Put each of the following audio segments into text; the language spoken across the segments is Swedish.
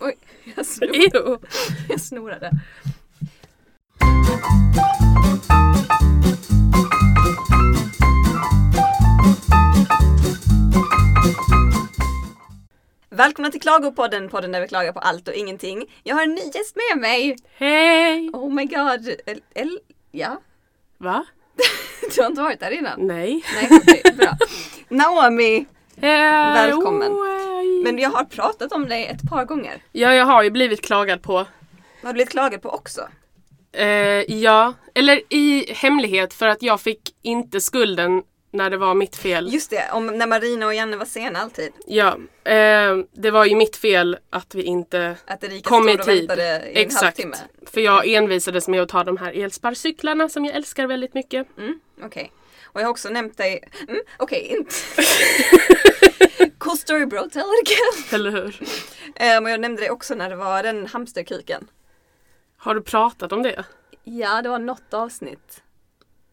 Oj, Alltså, jag snor. Jag snorade. Välkomna till Klagopodden, podden där vi klagar på allt och ingenting. Jag har en ny gäst med mig! Hej! Oh my god! El, el, ja, Va? du har inte varit där innan? Nej. Nej, okej, bra. Naomi! Välkommen. Hej. Men jag har pratat om dig ett par gånger. Ja, jag har ju blivit klagad på. Har du blivit klagad på också? Eh, ja, eller i hemlighet för att jag fick inte skulden när det var mitt fel. Just det, om när Marina och Janne var sena alltid. Ja, eh, det var ju mitt fel att vi inte Att Erika kom i stod och tid. väntade i en Exakt. halvtimme. För jag envisades med att ta de här elsparkcyklarna som jag älskar väldigt mycket. Mm, okej. Och jag har också nämnt dig... Mm, okej, inte... cool story bro, tell it again! Eller hur? Ehm, och jag nämnde dig också när det var den hamsterkuken. Har du pratat om det? Ja, det var något avsnitt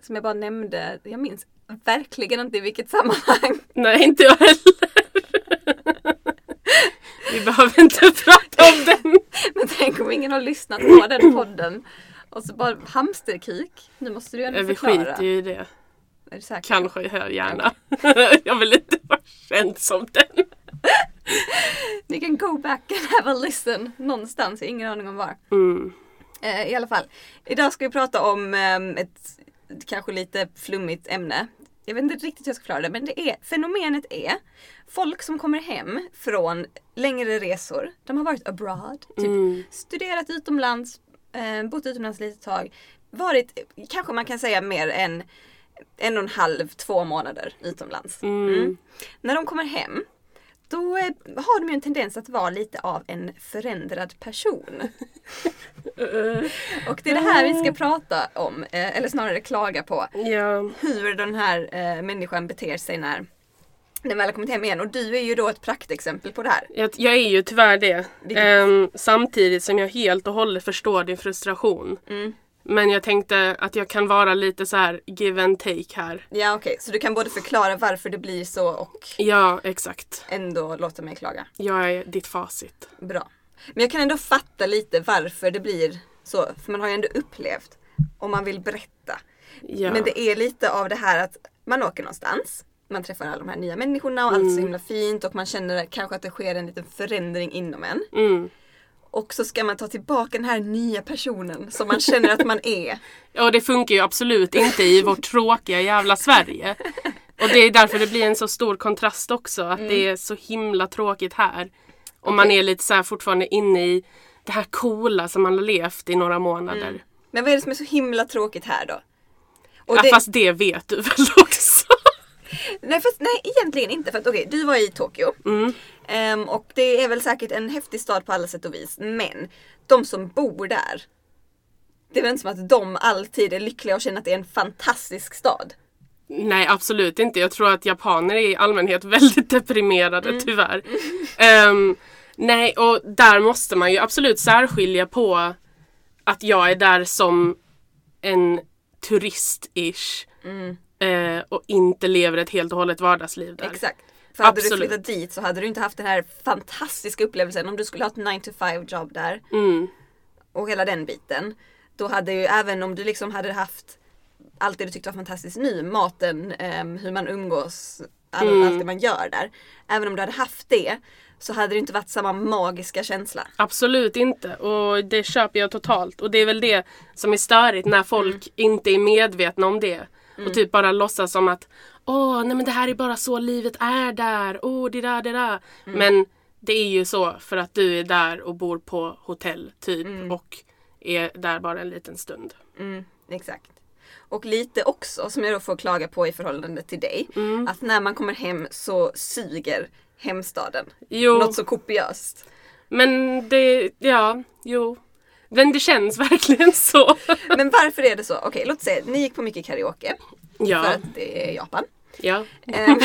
som jag bara nämnde. Jag minns verkligen inte i vilket sammanhang. Nej, inte jag heller. vi behöver inte prata om den. Men tänk om ingen har lyssnat på den podden. Och så bara hamsterkuk. Nu måste du ju ändå Vi förklara. skiter ju i det. Är du säker? Kanske hör gärna. jag vill inte vara känd som den. Ni kan go back and have a listen någonstans. Jag har ingen aning om var. Mm. Eh, I alla fall. Idag ska vi prata om ehm, ett kanske lite flummigt ämne. Jag vet inte riktigt hur jag ska förklara det men det är, fenomenet är folk som kommer hem från längre resor. De har varit abroad, typ Mm. studerat utomlands, eh, bott utomlands lite tag. Varit, eh, kanske man kan säga mer än en och en halv, två månader utomlands. Mm. När de kommer hem då eh, har de ju en tendens att vara lite av en förändrad person. Uh-uh. Och det är det här vi ska prata om, eh, eller snarare klaga på. Ja. Hur den här eh, människan beter sig när den väl har kommit hem igen. Och du är ju då ett praktexempel på det här. Jag, jag är ju tyvärr det. Vilket- Ehm, samtidigt som jag helt och hållet förstår din frustration. Mm. Men jag tänkte att jag kan vara lite så här give and take här. Ja okej, så du kan både förklara varför det blir så och Ja, exakt. ändå låta mig klaga. Jag är ditt facit. Bra. Men jag kan ändå fatta lite varför det blir så. För man har ju ändå upplevt om man vill berätta. Ja. Men det är lite av det här att man åker någonstans. Man träffar alla de här nya människorna och Mm. allt är så himla fint och man känner kanske att det sker en liten förändring inom en. Mm. Och så ska man ta tillbaka den här nya personen som man känner att man är. Och det funkar ju absolut inte i vårt tråkiga jävla Sverige. Och det är därför det blir en så stor kontrast också, att det är så himla tråkigt här. Och man är lite så här fortfarande inne i det här coola som man har levt i några månader. Men vad är det som är så himla tråkigt här då? Mm. Och ja, det, fast det vet du väl också? nej, fast, nej, egentligen inte. För att okej, du var i Tokyo. Mm. Ehm, och det är väl säkert en häftig stad på alla sätt och vis. Men de som bor där. Det är väl inte som att de alltid är lyckliga och känner att det är en fantastisk stad. Nej, absolut inte. Jag tror att japaner är i allmänhet väldigt deprimerade, tyvärr. Ehm, nej, och där måste man ju absolut särskilja på att jag är där som en turist-ish. eh, och inte lever ett helt och hållet vardagsliv där. Exakt. För hade du Absolut. flyttat dit så hade du inte haft den här fantastiska upplevelsen om du skulle ha ett 9 to 5 jobb där. Mm. och hela den biten. Då hade ju även om du liksom hade haft allt det du tyckte var fantastiskt nu, maten, ehm, hur man umgås, all, Mm. allt det man gör där. Även om du hade haft det så hade det inte varit samma magiska känsla. Absolut inte och det köper jag totalt och det är väl det som är störigt när folk inte är medvetna om det och typ bara låtsas som att åh nej men det här är bara så livet är där, åh det där det där. Men det är ju så för att du är där och bor på hotell typ och är där bara en liten stund. Mm, exakt. Och lite också, som jag då får klaga på i förhållande till dig, Mm. att när man kommer hem så suger hemstaden. Jo Något så kopiöst. men det, ja, jo. Men det känns verkligen så. Men varför är det så? Okej, låt säga ni gick på mycket karaoke, för ja, att det är Japan. ja. Ehm,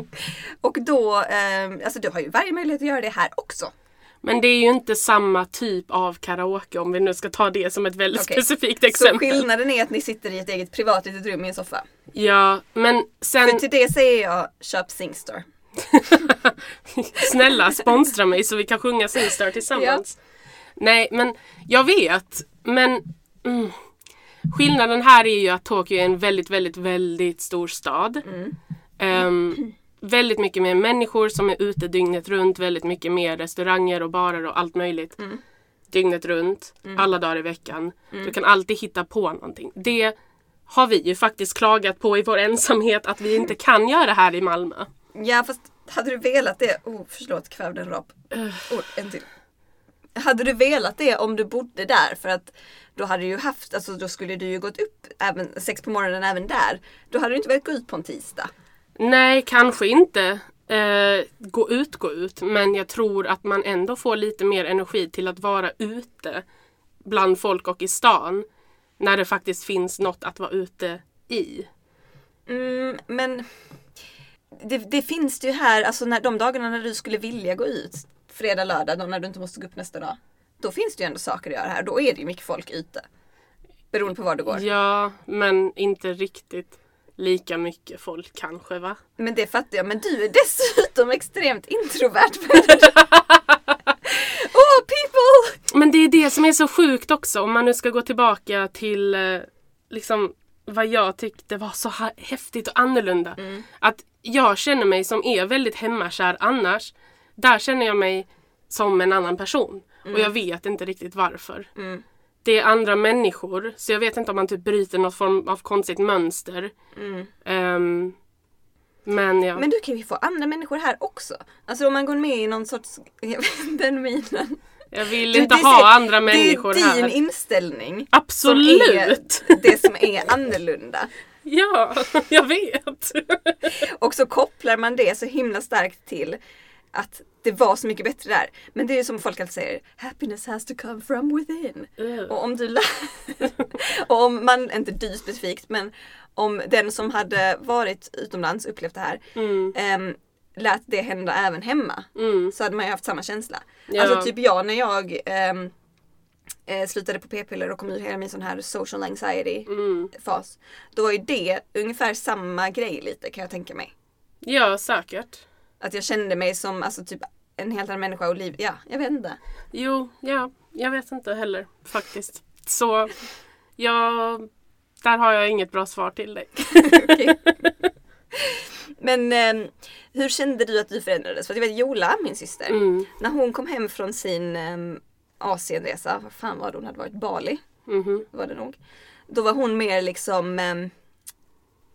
och då, ehm, alltså du har ju varje möjlighet att göra det här också. Men det är ju inte samma typ av karaoke om vi nu ska ta det som ett väldigt Okej. specifikt exempel. Så skillnaden är att ni sitter i ett eget privat litet rum i en soffa. Ja, men sen... För till det säger jag köp Singstar. Snälla sponsra mig så vi kan sjunga Sister tillsammans. Nej men jag vet. Men mm, skillnaden här är ju att Tokyo är en väldigt, väldigt, väldigt stor stad. Ehm, väldigt mycket mer människor som är ute dygnet runt. Väldigt mycket mer restauranger och barer och allt möjligt. Dygnet runt, alla dagar i veckan. Du kan alltid hitta på någonting. Det har vi ju faktiskt klagat på i vår ensamhet att vi inte kan göra här i Malmö. Ja fast hade du velat det, oh förlåt kvävde en rap. Oh, en till. Hade du velat det om du bodde där för att då hade du ju haft, alltså då skulle du ju gått upp även, sex på morgonen även där. Då hade du inte velat gå ut på en tisdag. Nej, kanske inte eh, gå ut, gå ut. Men jag tror att man ändå får lite mer energi till att vara ute bland folk och i stan. När det faktiskt finns något att vara ute i. Mm, men det, det finns det ju här, alltså när, de dagarna när du skulle vilja gå ut fredag, lördag, då när du inte måste gå upp nästa dag. Då finns det ju ändå saker att göra här. Då är det ju mycket folk ute. Beroende på var du går. Ja, men inte riktigt lika mycket folk kanske va? Men det fattar jag. Men du är dessutom extremt introvert. Åh, oh, people! Men det är det som är så sjukt också om man nu ska gå tillbaka till eh, liksom vad jag tyckte var så ha- häftigt och annorlunda. Mm. Att jag känner mig som är väldigt hemmakär annars. Där känner jag mig som en annan person. Mm. Och jag vet inte riktigt varför. Det är andra människor så jag vet inte om man typ bryter något form av konstigt mönster. Ehm, men ja. Mm. Men du kan ju få andra människor här också. Alltså om man går med i någon sorts, jag vet den minen. jag vill Du, inte det är ha så- andra människor Det är din här. inställning. Absolut! Som är det som är annorlunda. Ja, jag vet. Och så kopplar man det så himla starkt till att det var så mycket bättre där. Men det är ju som folk alltid säger, happiness has to come from within. Ugh. Och om du lär... och om man, inte du specifikt, men om den som hade varit utomlands upplevt det här Mm. ehm, lät det hända även hemma Mm. så hade man ju haft samma känsla. Ja. Alltså typ jag när jag ehm, eh, slutade på p-piller och kom ur hela min sån här social anxiety Mm. fas. Då var ju det ungefär samma grej lite kan jag tänka mig. Ja, säkert. Att jag kände mig som alltså, typ en helt annan människa och liv, ja jag vet inte. Jo, ja, jag vet inte heller faktiskt. Så, ja, där har jag inget bra svar till dig. Okej. Men ehm, hur kände du att du förändrades? För att jag vet Jola, min syster, Mm. när hon kom hem från sin ehm, Asienresa, vad fan var det hon hade varit? Bali Mhm. var det nog. Då var hon mer liksom ehm,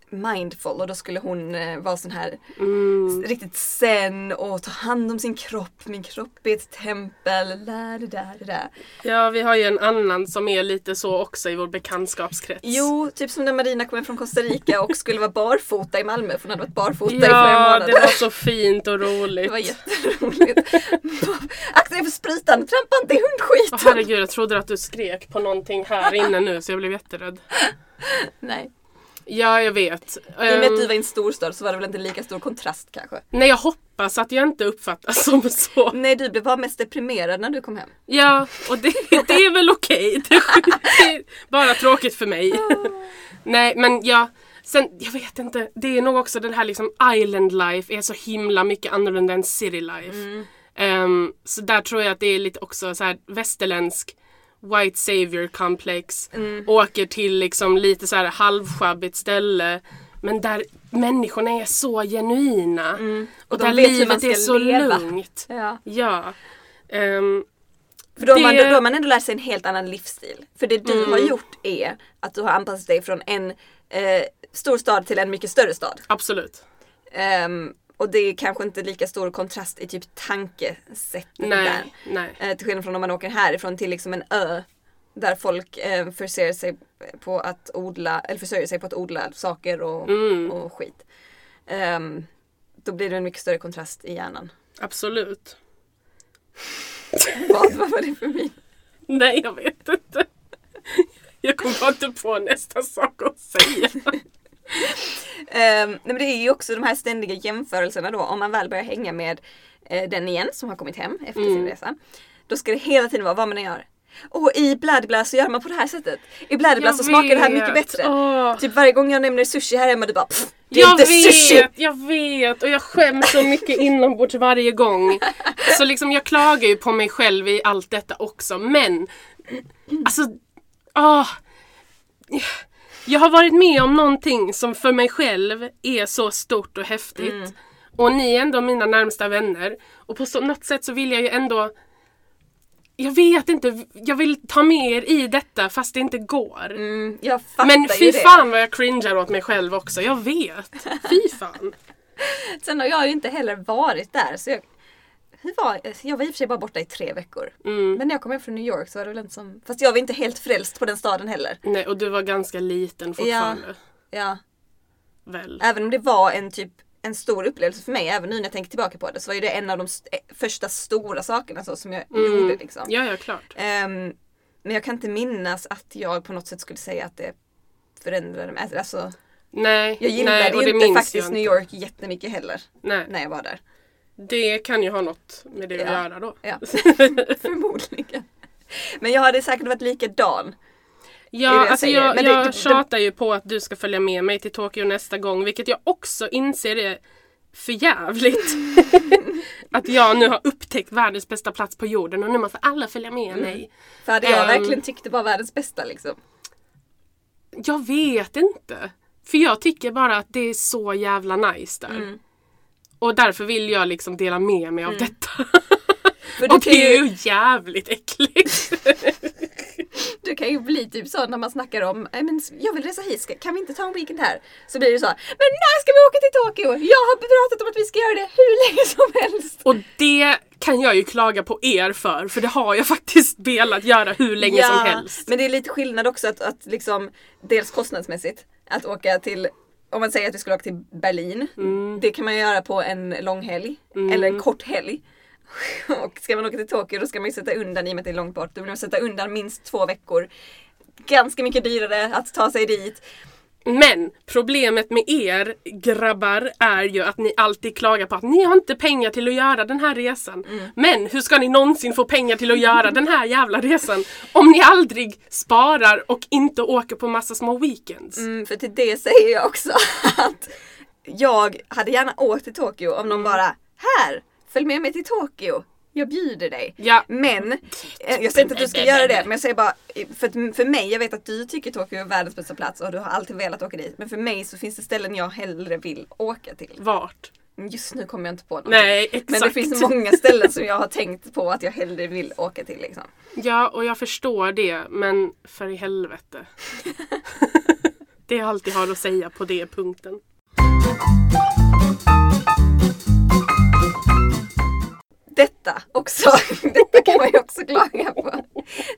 mindful och då skulle hon eh, vara sån här Mm. riktigt zen och ta hand om sin kropp. Min kropp är ett tempel. Där, där, där. Ja, vi har ju en annan som är lite så också i vår bekantskapskrets. Jo, typ som när Marina kom hem från Costa Rica och skulle vara barfota i Malmö för hon hade varit barfota i flera Ja, månader. det var så fint och roligt. Det var jätteroligt. Akta dig för sprutan, trampa inte i Åh, hundskiten! herregud, jag trodde att du skrek på någonting här inne nu så jag blev jätterädd. Nej. Ja, jag vet. I och med Ehm, att du var i en storstad så var det väl inte lika stor kontrast kanske? Nej, jag hoppas att jag inte uppfattas som så. Nej, du blev- var mest deprimerad när du kom hem. Ja, och det, det är väl okej. Det, är- det är bara tråkigt för mig. Nej, men ja. Sen, jag vet inte. Det är nog också den här liksom island life är så himla mycket annorlunda än city life. Mm. Ehm, så där tror jag att det är lite också så här västerländsk white savior complex. Mm. Åker till liksom lite så här halvsjabbigt ställe. Men där människorna är så genuina. Och, Mm. de där vet hur man livet ska är så leva. lugnt. Ja. Ja. Ehm, För då har, man, då Det- Mm. har man ändå lärt sig en helt annan livsstil. För det du har gjort är att du har anpassat dig från en eh, stor stad till en mycket större stad. absolut. Ehm, och det är kanske inte lika stor kontrast i typ tankesätt där. Nej, nej. Eh, till skillnad från om man åker härifrån till liksom en ö där folk eh, förser sig på att odla, eller försörjer sig på att odla saker och, Mm. och skit. Ehm, då blir det en mycket större kontrast i hjärnan. Absolut. Vad, vad var det för min? Nej, jag vet inte. Jag kommer bara inte på nästa sak att säga. Ehm, nej, men det är ju också de här ständiga jämförelserna då. Om man väl börjar Mm. hänga med eh, den igen som har kommit hem efter sin resa. Då ska det hela tiden vara vad man än gör. Och i Bladblad så gör man på det här sättet. I Bladblad Jag så smakar det Alltså, här mycket vet. bättre. Åh. Typ varje gång jag nämner sushi här hemma du bara "Pff, Det är Jag inte vet, sushi! jag vet och jag skäms så mycket inombords varje gång. Så liksom jag klagar ju på mig själv i allt detta också men alltså, ah, jag har varit med om någonting som för mig själv är så stort och häftigt. Mm. Och ni är ändå mina närmsta vänner och på så, något sätt så vill jag ju ändå jag vet inte, jag vill ta med er i detta fast det inte går. Mm, jag fattar Men ju fy det. fan vad jag cringear åt mig själv också, jag vet. Fy fan. Sen har jag ju inte heller varit där. Så jag, hur var, jag var i och för sig bara borta i tre veckor. Mm. Men när jag kom hem från New York så var det väl inte som... Fast jag var inte helt frälst på den staden heller. Nej, och du var ganska liten fortfarande. Ja. Väl? Även om det var en typ en stor upplevelse för mig, även nu när jag tänker tillbaka på det, så var ju det en av de st- eh, första stora sakerna så, som jag gjorde. Liksom. Mm. Ja, ja, klart. Ehm, men jag kan inte minnas att jag på något sätt skulle säga att det förändrade mig. Alltså, Nej, jag nej, gillade och det ju inte minns faktiskt jag New inte. York jättemycket heller Nej. när jag var där. Det kan ju ha något med det att Ja. göra då. Ja. Förmodligen. Men jag hade säkert varit likadan. det Ja, jag alltså säger. jag, Men det- jag det- det- tjatar ju på att du ska följa med mig till Tokyo nästa gång, vilket jag också inser är för jävligt. att jag nu har upptäckt världens bästa plats på jorden och nu måste alla följa Mm. med mig. För hade jag Ehm. verkligen tyckt det var världens bästa liksom. Jag vet inte. För jag tycker bara att det är så jävla nice där. Mm. Och därför vill jag liksom dela med mig av detta. För du, Och kan det är ju, ju jävligt äckligt. du kan ju bli typ så när man snackar om "Nej, men jag vill resa hit, ska- kan vi inte ta en weekend här? Så blir det så här, men när ska vi åka till Tokyo? Jag har pratat om att vi ska göra det hur länge som helst. Och det kan jag ju klaga på er för, för det har jag faktiskt velat göra hur länge som helst. Men det är lite skillnad också att, att liksom, dels kostnadsmässigt, att åka till om man säger att vi skulle åka till Berlin, Mm. det kan man göra på en lång helg eller en kort helg. Och ska man åka till Tokyo då ska man ju sätta undan, i och med att det är långt bort, då vill man sätta undan minst två veckor. Ganska mycket dyrare att ta sig dit. Men problemet med er grabbar är ju att ni alltid klagar på att ni har inte pengar till att göra den här resan. Mm. Men hur ska ni någonsin få pengar till att göra den här jävla resan om ni aldrig sparar och inte åker på massa små weekends? Mm, för till det säger jag också att jag hade gärna åkt till Tokyo om någon bara Här! Följ med mig till Tokyo! Jag bjuder dig. Ja. Men, eh, jag säger inte att du ska göra det, men jag säger bara eh, för, att, för mig, jag vet att du tycker Tokyo är världens bästa plats och du har alltid velat åka dit. Men för mig så finns det ställen jag hellre vill åka till. Vart? Men Just nu kommer jag inte på något. Nej, Men det exakt. finns många ställen som jag har tänkt på att jag hellre vill åka till liksom. Ja, och jag förstår det, men för i helvete. det jag alltid har att säga på det punkten. Detta också. Detta kan man ju också klaga på.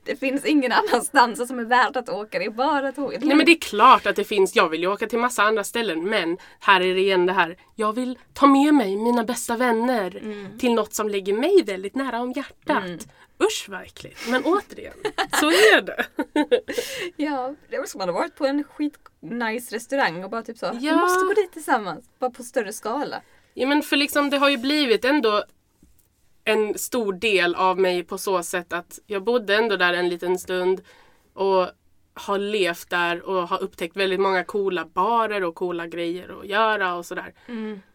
Det finns ingen annanstans som är värt att åka. Det är bara tåget. Nej men det är klart att det finns, jag vill ju åka till massa andra ställen men här är det igen det här, jag vill ta med mig mina bästa vänner till något som ligger mig väldigt nära om hjärtat. Usch vad äckligt, men återigen, så är det. Ja, det var som man har varit på en skitnice restaurang och bara typ så. Vi Ja. måste gå dit tillsammans. Bara på större skala. Ja men för liksom det har ju blivit ändå en stor del av mig på så sätt att jag bodde ändå där en liten stund och har levt där och har upptäckt väldigt många coola barer och coola grejer att göra och sådär.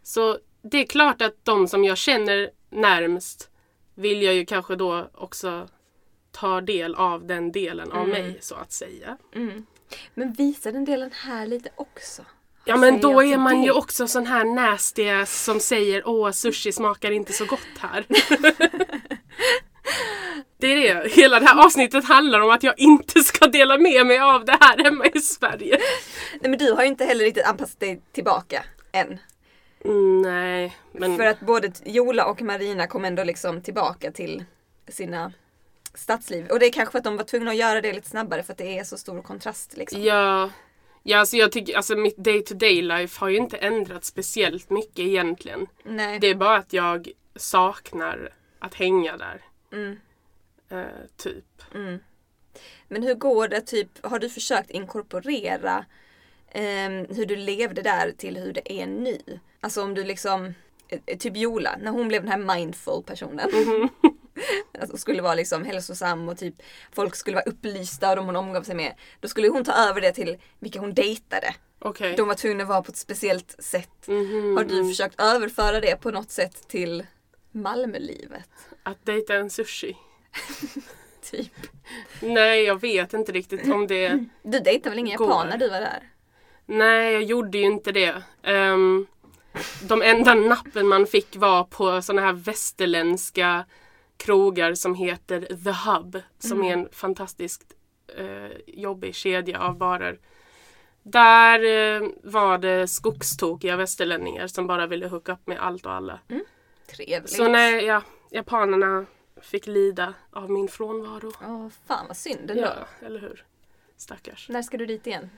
Så det är klart att de som jag känner närmst vill jag ju kanske då också ta del av den delen av mig så att säga. Men visa den delen här lite också. Ja men Säger då jag är till man ju dig. också sån här nasty ass som säger åh sushi smakar inte så gott här. det är det. Hela det här avsnittet handlar om att jag inte ska dela med mig av det här hemma i Sverige. Nej men du har ju inte heller riktigt anpassat dig tillbaka än. Mm, nej, men För att både t- Jola och Marina kom ändå liksom tillbaka till sina stadsliv. Och det är kanske för att de var tvungna att göra det lite snabbare för att det är så stor kontrast liksom. ja, ja alltså jag tycker alltså mitt day to day life har ju inte ändrats speciellt mycket egentligen. Nej. Det är bara att jag saknar att hänga där. Mm. Eh, typ. Men hur går det, typ, har du försökt inkorporera ehm, hur du levde där till hur det är nu? eh, Mm-hmm. Alltså om du liksom, eh, typ Jola, när hon blev den här mindful personen. alltså, skulle vara liksom hälsosam och typ folk skulle vara upplysta och de hon omgav sig med. Då skulle hon ta över det till vilka hon dejtade. Okej. De var tvungna att vara på ett speciellt sätt. Mhm. Har du försökt överföra det på något sätt till Malmölivet? Att dejta en sushi. Typ. Nej, jag vet inte riktigt om det... Du dejtade väl inga Går. japaner du var där? Nej, jag gjorde ju inte det. Ehm, de enda nappen man fick var på såna här västerländska krogar som heter The Hub. Som är en fantastiskt eh, jobbig kedja av barer. Där eh, var det skogstokiga västerlänningar som bara ville hooka upp med allt och alla. Trevligt. Så nej, ja, japanerna fick lida av min frånvaro. Åh, fan vad synd ändå. Ja, eller hur? Stackars. När ska du dit igen?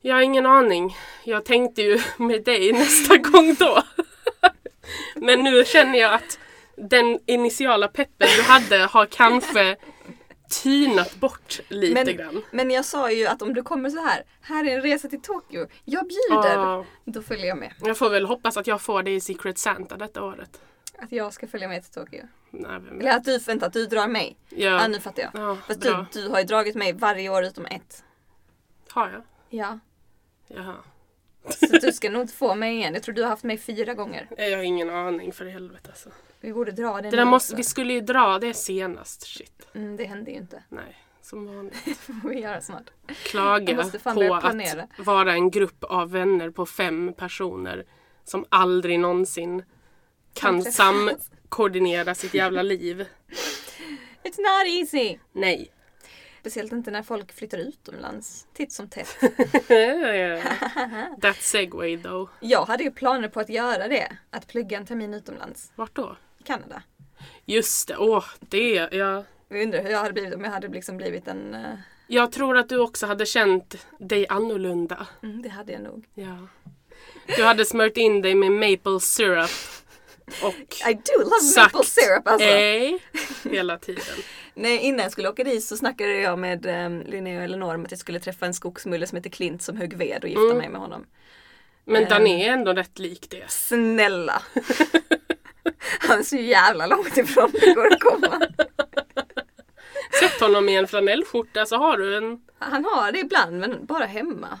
Jag har ingen aning. Jag tänkte ju med dig nästa gång då. Men nu känner jag att den initiala peppen du hade har kanske tynat bort lite Men, grann. men jag sa ju att om du kommer så här, här är en resa till Tokyo, jag bjuder! Ja, Då följer jag med. jag får väl hoppas att jag får det i Secret Santa detta året. Att jag ska följa med till Tokyo. Nej, vem vet. Eller att du, vänta, att du drar mig. Ja, Ja, nu fattar jag. ja Fast du, bra. du har ju dragit mig varje år utom ett. Har jag? Ja. Jaha. Så du ska nog inte få mig igen. Jag tror du har haft mig fyra gånger. Nej, Jag har ingen aning för helvete alltså. Vi borde dra den Det där nu måste, också. vi skulle ju dra det senast. Shit. mm, det händer ju inte. Nej, som vanligt. Det får vi göra snart. Jag klaga måste fan på börja planera. att vara en grupp av vänner på fem personer som aldrig någonsin kan träffas. samkoordinera sitt jävla liv. It's not easy! Nej. Speciellt inte när folk flyttar utomlands titt som tätt. That segway though. Jag hade ju planer på att göra det. Att plugga en termin utomlands. Vart då? I Kanada. Just det, åh det, ja. Jag undrar hur jag hade blivit om jag hade liksom blivit en... eh, Jag tror att du också hade känt dig annorlunda. Mm, det hade jag nog. Ja. Du hade smört in dig med maple syrup och I do love maple sagt syrup alltså! ej hela tiden. Nej, innan jag skulle åka dit så snackade jag med um, Linnea och Elinor om att jag skulle träffa en skogsmulle som heter Klint som högg ved och Mm. gifta mig med honom. Men den Ehm. är ändå rätt lik det. Snälla! Han är så jävla långt ifrån det går att komma. Sätt honom i en flanellskjorta så har du en... Han har det ibland men bara hemma.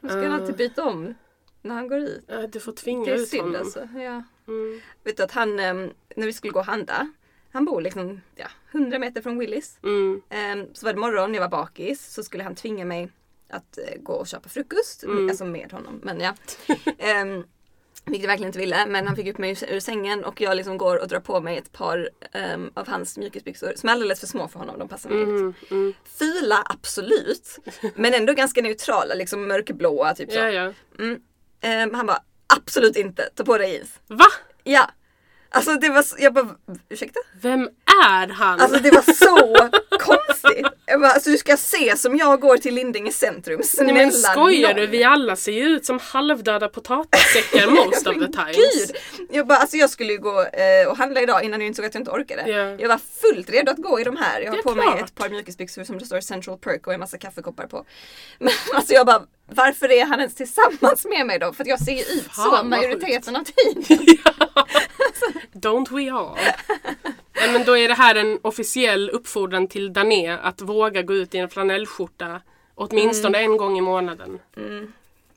Då ska han Ah. alltid byta om när han går ut. Ja, Du får tvinga Det är ut honom. synd alltså. Ja. Mm. Vet du att han, ehm, när vi skulle gå och handla, han bor liksom ja, 100 meter från Willys. Mm. Ehm, Så var det morgon, jag var bakis, så skulle han tvinga mig att eh, gå och köpa frukost. Mm. Alltså med honom, men ja. Ehm, vilket jag verkligen inte ville, men han fick upp mig ur- ur sängen och jag liksom går och drar på mig ett par ehm, av hans mjukisbyxor som är alldeles för små för honom, de passar mig inte. Mm. Mm. Fila, absolut. Men ändå ganska neutrala, liksom mörkblåa typ så. Ja, ja. Mm. Ehm, han bara, absolut inte, ta på dig jeans. Va? Ja. Alltså det var, så, jag bara, ursäkta? Vem är han? Alltså det var så konstigt. Jag bara, alltså, du ska se som jag går till Lindinge centrum. Snälla Nej, men skojar nån. du? Vi alla ser ju ut som halvdöda potatissäckar most of the times. Gud! Jag, bara, alltså, jag skulle ju gå eh, och handla idag innan jag insåg att jag inte orkade. Ja. Jag var fullt redo att gå i de här. Jag har Det är på mig klart. ett par mjukisbyxor som det står Central Perk och en massa kaffekoppar på. Men alltså jag bara, varför är han ens tillsammans med mig då? För att jag ser ju ut Fan, så vad majoriteten av tiden. Don't we all? Nej, men då är det här en officiell uppfordran till Dané att våga gå ut i en flanellskjorta åtminstone Mm. en gång i månaden.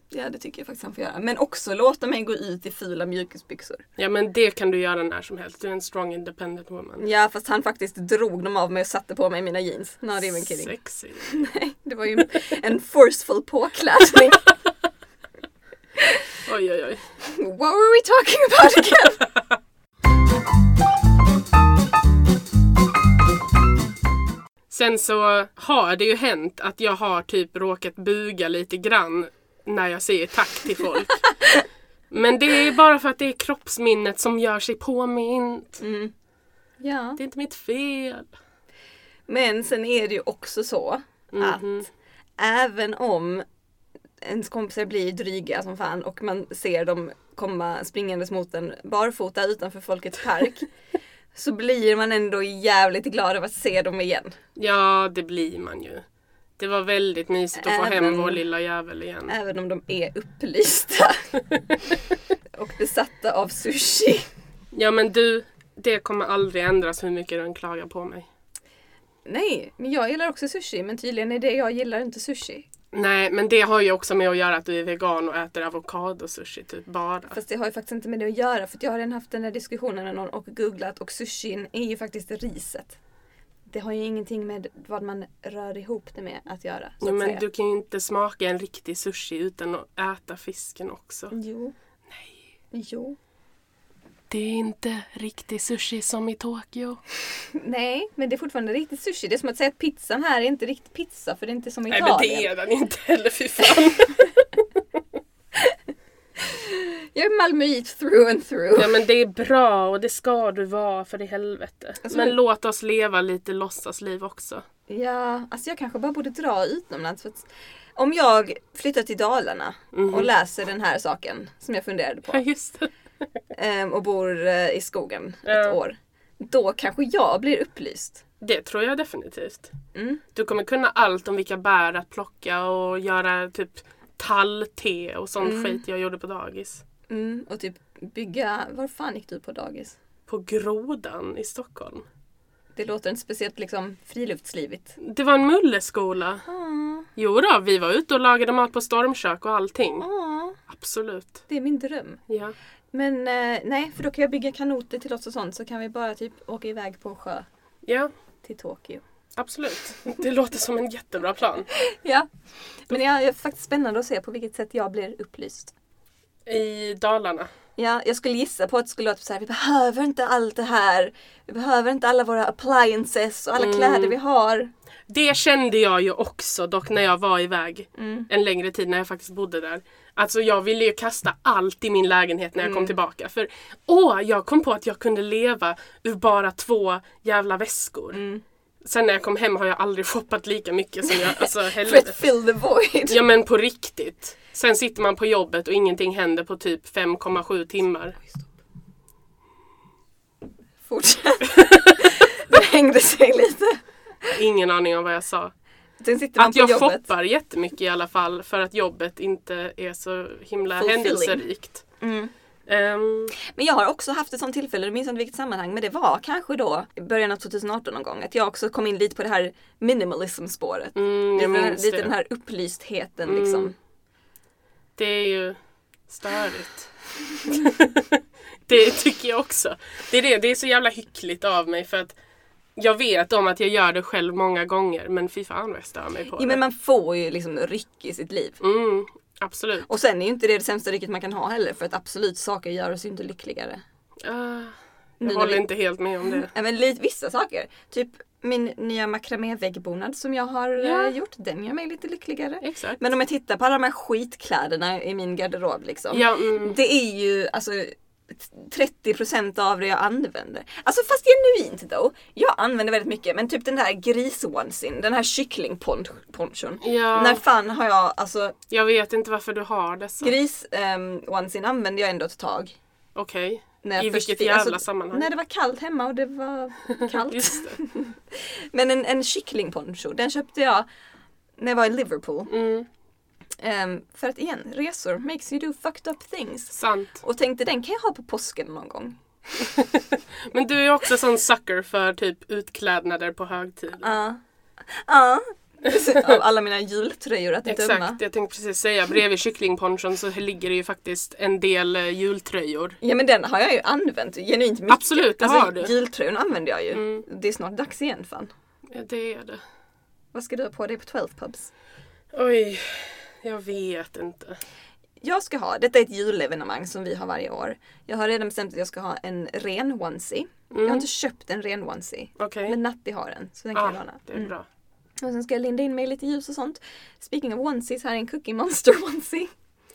Ja det tycker jag faktiskt han får göra. Men också låta mig gå ut i fula mjukisbyxor. Ja men det kan du göra när som helst. Du är en strong independent woman. Ja fast han faktiskt drog dem av mig och satte på mig mina jeans. Not even kidding. Sexy. Nej, det var ju en forceful påkladdning. Oj oj oj. What were we talking about again? Sen så har det ju hänt att jag har typ råkat buga lite grann när jag säger tack till folk. Men det är bara för att det är kroppsminnet som gör sig påmint. Mm. Ja. Det är inte mitt fel. Men sen är det ju också så Mm. att även om ens kompisar blir dryga som fan och man ser dem komma springandes mot en barfota utanför Folkets park så blir man ändå jävligt glad av att se dem igen. Ja, det blir man ju. Det var väldigt mysigt att få hem Även- vår lilla jävel igen. Även om de är upplysta och besatta av sushi. Ja men du, Det kommer aldrig ändras hur mycket du än klagar på mig. Nej, men jag gillar också sushi men tydligen är det jag gillar inte sushi. Nej, men det har ju också med att göra att du är vegan och äter avokadosushi typ bara. Fast det har ju faktiskt inte med det att göra för att jag har redan haft den där diskussionen med någon och googlat och sushin är ju faktiskt riset. Det har ju ingenting med vad man rör ihop det med att göra. Så Jo, att men säga. du kan ju inte smaka en riktig sushi utan att äta fisken också. Jo. Nej. Jo. Det är inte riktig sushi som i Tokyo. Nej, men det är fortfarande riktigt sushi. Det är som att säga att pizzan här är inte riktigt pizza för det är inte som i Nej Italien. men det är den inte heller, fy fan. Jag är malmöit through and through. ja men det är bra och det ska du vara för i helvete. Alltså, men men- låt oss leva lite låtsasliv också. Ja, alltså jag kanske bara borde dra utomlands. För att om jag flyttar till Dalarna och läser den här saken som jag funderade på Ja just det. ehm, och bor eh, i skogen Ja. ett år. Då kanske jag blir upplyst. Det tror jag definitivt. Mm. Du kommer kunna allt om vilka bär att plocka och göra typ tallte och sån skit jag gjorde på dagis. Mm, och typ bygga, var fan gick du på dagis? På Grodan i Stockholm. Det låter inte speciellt liksom friluftslivigt. Det var en mulleskola. Ah, Jo då, vi var ute och lagade mat på stormkök och allting. ah, Absolut. det är min dröm. Ja. Men eh, nej, för då kan jag bygga kanoter till oss och sånt så kan vi bara typ åka iväg på sjö ja, till Tokyo. absolut. Det låter som en jättebra plan. Ja. Men jag är faktiskt spännande att se på vilket sätt jag blir upplyst. I Dalarna. Ja, jag skulle gissa på att det skulle låta så här, vi behöver inte allt det här. Vi behöver inte alla våra appliances och alla kläder vi har. Det kände jag ju också dock när jag var iväg en längre tid när jag faktiskt bodde där. Alltså jag ville ju kasta allt i min lägenhet när jag kom tillbaka. För åh, jag kom på att jag kunde leva ur bara två jävla väskor. Sen när jag kom hem har jag aldrig shoppat lika mycket som jag, alltså För att helvete. fill the void. Ja men på riktigt. Sen sitter man på jobbet och ingenting händer på typ 5,7 timmar. Fortsätt. det hängde sig lite. Ingen aning om vad jag sa. Sen sitter man Att på jag jobbet. shoppar jättemycket i alla fall för att jobbet inte är så himla Fulfilling. händelserikt. Mm. Ehm, Men jag har också haft ett sånt tillfälle, jag minns inte vilket sammanhang, men det var kanske då i början av 2018 någon gång. Att jag också kom in lite på det här minimalism-spåret. mm, jag lite den här, minns lite den det. här upplystheten liksom. Det är ju störigt. det tycker jag också. Det är, det, det är så jävla hyckligt av mig för att jag vet om att jag gör det själv många gånger men fy fan vad jag stör mig på Ja, det. men man får ju liksom ryck i sitt liv. Mm, absolut. Och sen är ju inte det det sämsta rycket man kan ha heller för att absolut saker gör oss ju inte lyckligare. Ah, Nu jag när håller vi- inte helt med om det. Även lite, vissa saker. Typ min nya makramé-väggbonad som jag har Ja. eh, gjort, den gör mig lite lyckligare. Exakt. Men om jag tittar på alla de här skitkläderna i min garderob liksom. Ja, mm, Det är ju alltså 30% av det jag använder. Alltså fast genuint då. Jag använder väldigt mycket men typ den här grisonsin, den här kycklingponchon. Ja. När fan har jag, alltså jag vet inte varför du har dessa. grisonsin använde jag ändå ett tag. Okej. När jag I först vilket fick- jävla sammanhang. När det var kallt hemma och det var kallt. Just det. men en, en kycklingponcho, den köpte jag när jag var i Liverpool. Mm, Ehm, för att igen, resor makes you do fucked up things. sant. Och tänkte den kan jag ha på påsken någon gång. Men du är också sån sucker för typ utklädnader på högtid. Ja. Ja. Av alla mina jultröjor att Exakt, döma. jag tänkte precis säga. Bredvid kycklingponchon så ligger det ju faktiskt en del eh, jultröjor. Ja men den har jag ju använt genuint mycket. Absolut, det alltså, har du. Mm. Jultröjorna använder jag ju. Det är snart dags igen fan. Ja, det är det. Vad ska du ha på dig på 12 pubs? Oj, jag vet inte. Jag ska ha, detta är ett julevenemang som vi har varje år. Jag har redan bestämt att jag ska ha en ren onesie. Jag Mm. har inte köpt en ren onesie. Okej. Men Mm. Natti har en, så den kan jag Ah, låna. det är bra. Och sen ska jag linda in mig i lite ljus och sånt. Speaking of onesies, här är en Cookie Monster onesie.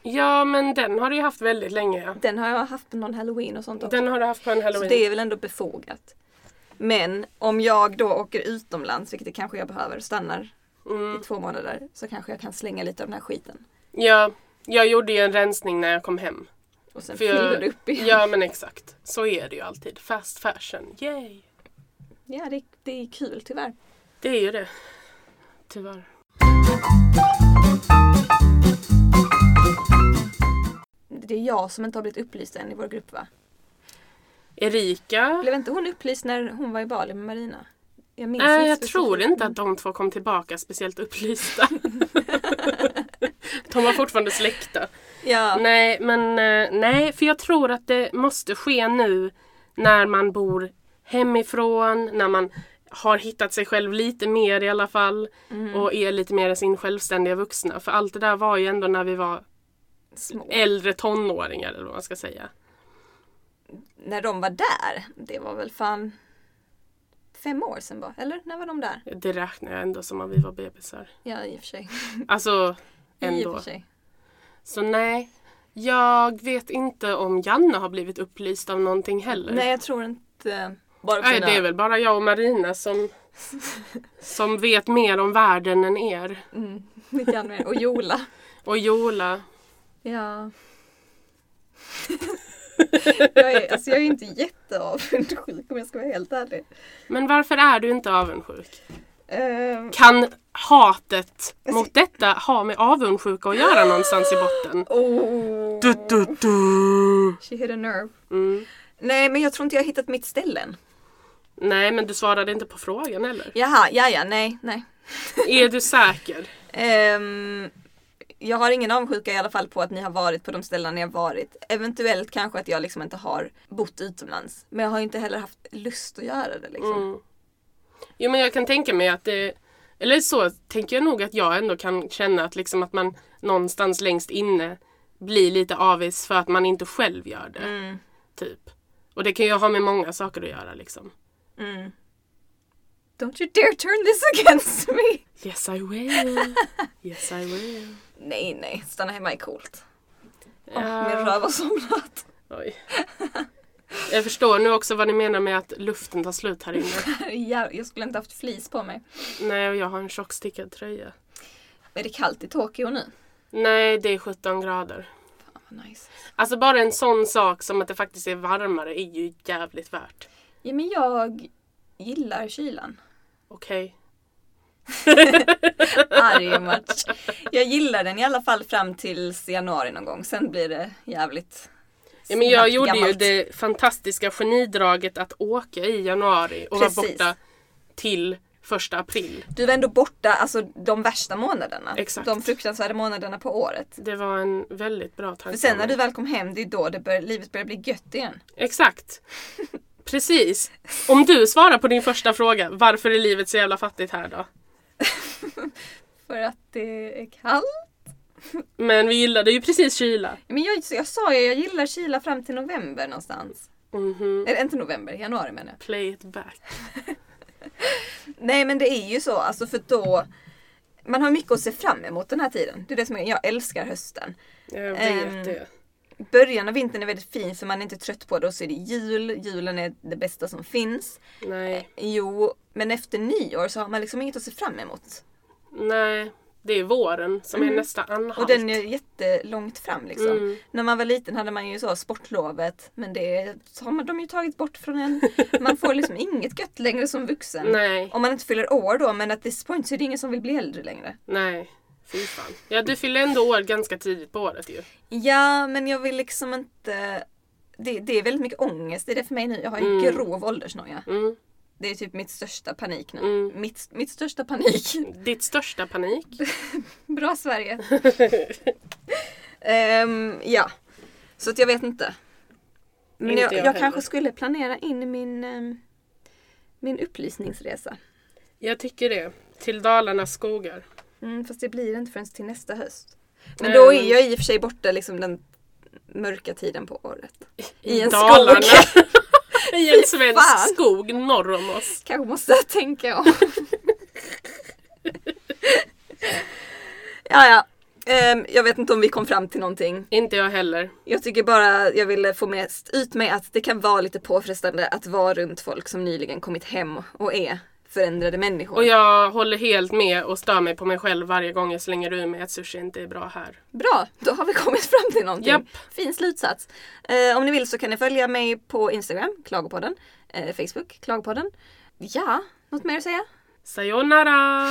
Ja, men den har du ju haft väldigt länge. Ja. Den har jag haft på någon halloween och sånt också. Den har du haft på en Så halloween. det är väl ändå befogat. Men om jag då åker utomlands, vilket det kanske jag behöver, stannar Mm. i två månader så kanske jag kan slänga lite av den här skiten. Ja, jag gjorde ju en rensning när jag kom hem. Och sen För fyller jag... det upp igen. Ja, Ja, men exakt. Så är det ju alltid. Fast fashion, yay! det, det är kul tyvärr. Det är ju det. Tyvärr. Det är jag som inte har blivit upplyst än i vår grupp va? Erika. Blev inte hon upplyst när hon var i Bali med Marina? Jag minns Nej, inte jag specifikt. tror inte att de två kom tillbaka speciellt upplysta. de var fortfarande släkta. Ja, Nej, men eh, nej, för jag tror att det måste ske nu när man bor hemifrån, när man har hittat sig själv lite mer i alla fall Mm. och är lite mer sin självständiga vuxna. För allt det där var ju ändå när vi var små. äldre tonåringar eller vad man ska säga. När de var där, det var väl fan fem år sedan bara, eller? När var de där? Det räknar jag ändå som att vi var bebisar. Ja, i och för sig. Alltså, I och ändå. för sig. Så nej, jag vet inte om Janne har blivit upplyst av någonting heller. Nej, jag tror inte. Bara Nej, det är väl bara jag och Marina som, som vet mer om världen än er. Mm, ni kan mer. Och Jola. Och Jola. Ja. jag, är, alltså jag är inte jätteavundsjuk om jag ska vara helt ärlig. Men varför är du inte avundsjuk? Ehm, Kan hatet mot detta ha med avundsjuka att göra någonstans i botten? oh, Du, du, du. she hit a nerve. Mm. Nej, men jag tror inte jag har hittat mitt ställe än. Nej, men du svarade inte på frågan heller. Jaha, ja, ja, nej, nej. Är du säker? Ehm, jag har ingen avundsjuka i alla fall på att ni har varit på de ställen jag varit. Eventuellt kanske att jag liksom inte har bott utomlands. Men jag har ju inte heller haft lust att göra det liksom. Mm. Jo men jag kan tänka mig att det Eller så tänker jag nog att jag ändå kan känna att liksom att man någonstans längst inne blir lite avis för att man inte själv gör det. Mm, Typ. Och det kan ju ha med många saker att göra liksom. mm. Don't you dare turn this against me! Yes I will. Yes I will. Nej, nej, stanna hemma är coolt. Åh, min Ja, röv har somnat. oj. Jag förstår nu också vad ni menar med att luften tar slut här inne. Ja, jag skulle inte haft flis på mig. Nej, och jag har en tjockstickad tröja. Är det kallt i Tokyo nu? Nej, det är 17 grader. Fan vad nice. Alltså bara en sån sak som att det faktiskt är varmare är ju jävligt värt. Ja, men jag gillar kylan. Okej. Arg match. Jag gillar den i alla fall fram till januari någon gång. Sen blir det jävligt Ja, men jag snabbt gjorde ju gammalt. det fantastiska genidraget att åka i januari och vara Precis. borta till första april. Du var ändå borta alltså, de värsta månaderna. Exakt. De fruktansvärda månaderna på året. Det var en väldigt bra För tanke. sen av när mig. du väl kom hem, det är då det bör, livet börjar bli gött igen. Exakt. Precis. Om du svarar på din första fråga, varför är livet så jävla fattigt här då? För att det är kallt. Men vi gillade ju precis kyla. Men jag, så jag sa ju, jag gillar kyla fram till november någonstans. Mhm. Eller inte november, januari menar jag. Play it back. Nej men det är ju så, alltså för då man har mycket att se fram emot den här tiden. Det är det som är, jag älskar hösten. Jag vet Ehm, det. Början av vintern är väldigt fin för man är inte trött på det och så är det jul. Julen är det bästa som finns. Nej. Jo, men efter nyår så har man liksom inget att se fram emot. Nej. Det är våren som är nästa anhalt. Mhm. Och den är jättelångt fram liksom. Mm. När man var liten hade man ju så sportlovet men det så har man, de ju tagit bort från en. Man får liksom inget gött längre som vuxen. Nej. Om man inte fyller år då men at this point så är det ingen som vill bli äldre längre. Nej. Fy fan. Ja, du fyller ändå år ganska tidigt på året ju. Ja men jag vill liksom inte det, det är väldigt mycket ångest i det för mig nu. Jag har ju Mm. grov åldersnoja. Mm. Det är typ mitt största panik nu. Mm. Mitt, mitt största panik. Ditt största panik? Bra Sverige. Ehm, ja. Så att jag vet inte. Men Inte jag, jag jag, heller. kanske skulle planera in min, ehm, min upplysningsresa. Jag tycker det. Till Dalarnas skogar. Mm, fast det blir inte förrän till nästa höst. Men då Ehm. är jag i och för sig borta liksom den mörka tiden på året. I en skog. I en svensk fan. skog norr om oss. Kanske måste jag tänka om. ja, ja. Ehm, jag vet inte om vi kom fram till någonting. Inte jag heller. Jag tycker bara jag ville få mest ut med att det kan vara lite påfrestande att vara runt folk som nyligen kommit hem och är förändrade människor. Och jag håller helt med och stör mig på mig själv varje gång jag slänger ur mig att sushi inte är bra här. Bra, då har vi kommit fram till någonting. Japp. Fin slutsats. Eh, om ni vill så kan ni följa mig på Instagram, Klagopodden, eh, Facebook, Klagopodden. Ja, något mer att säga? Sayonara!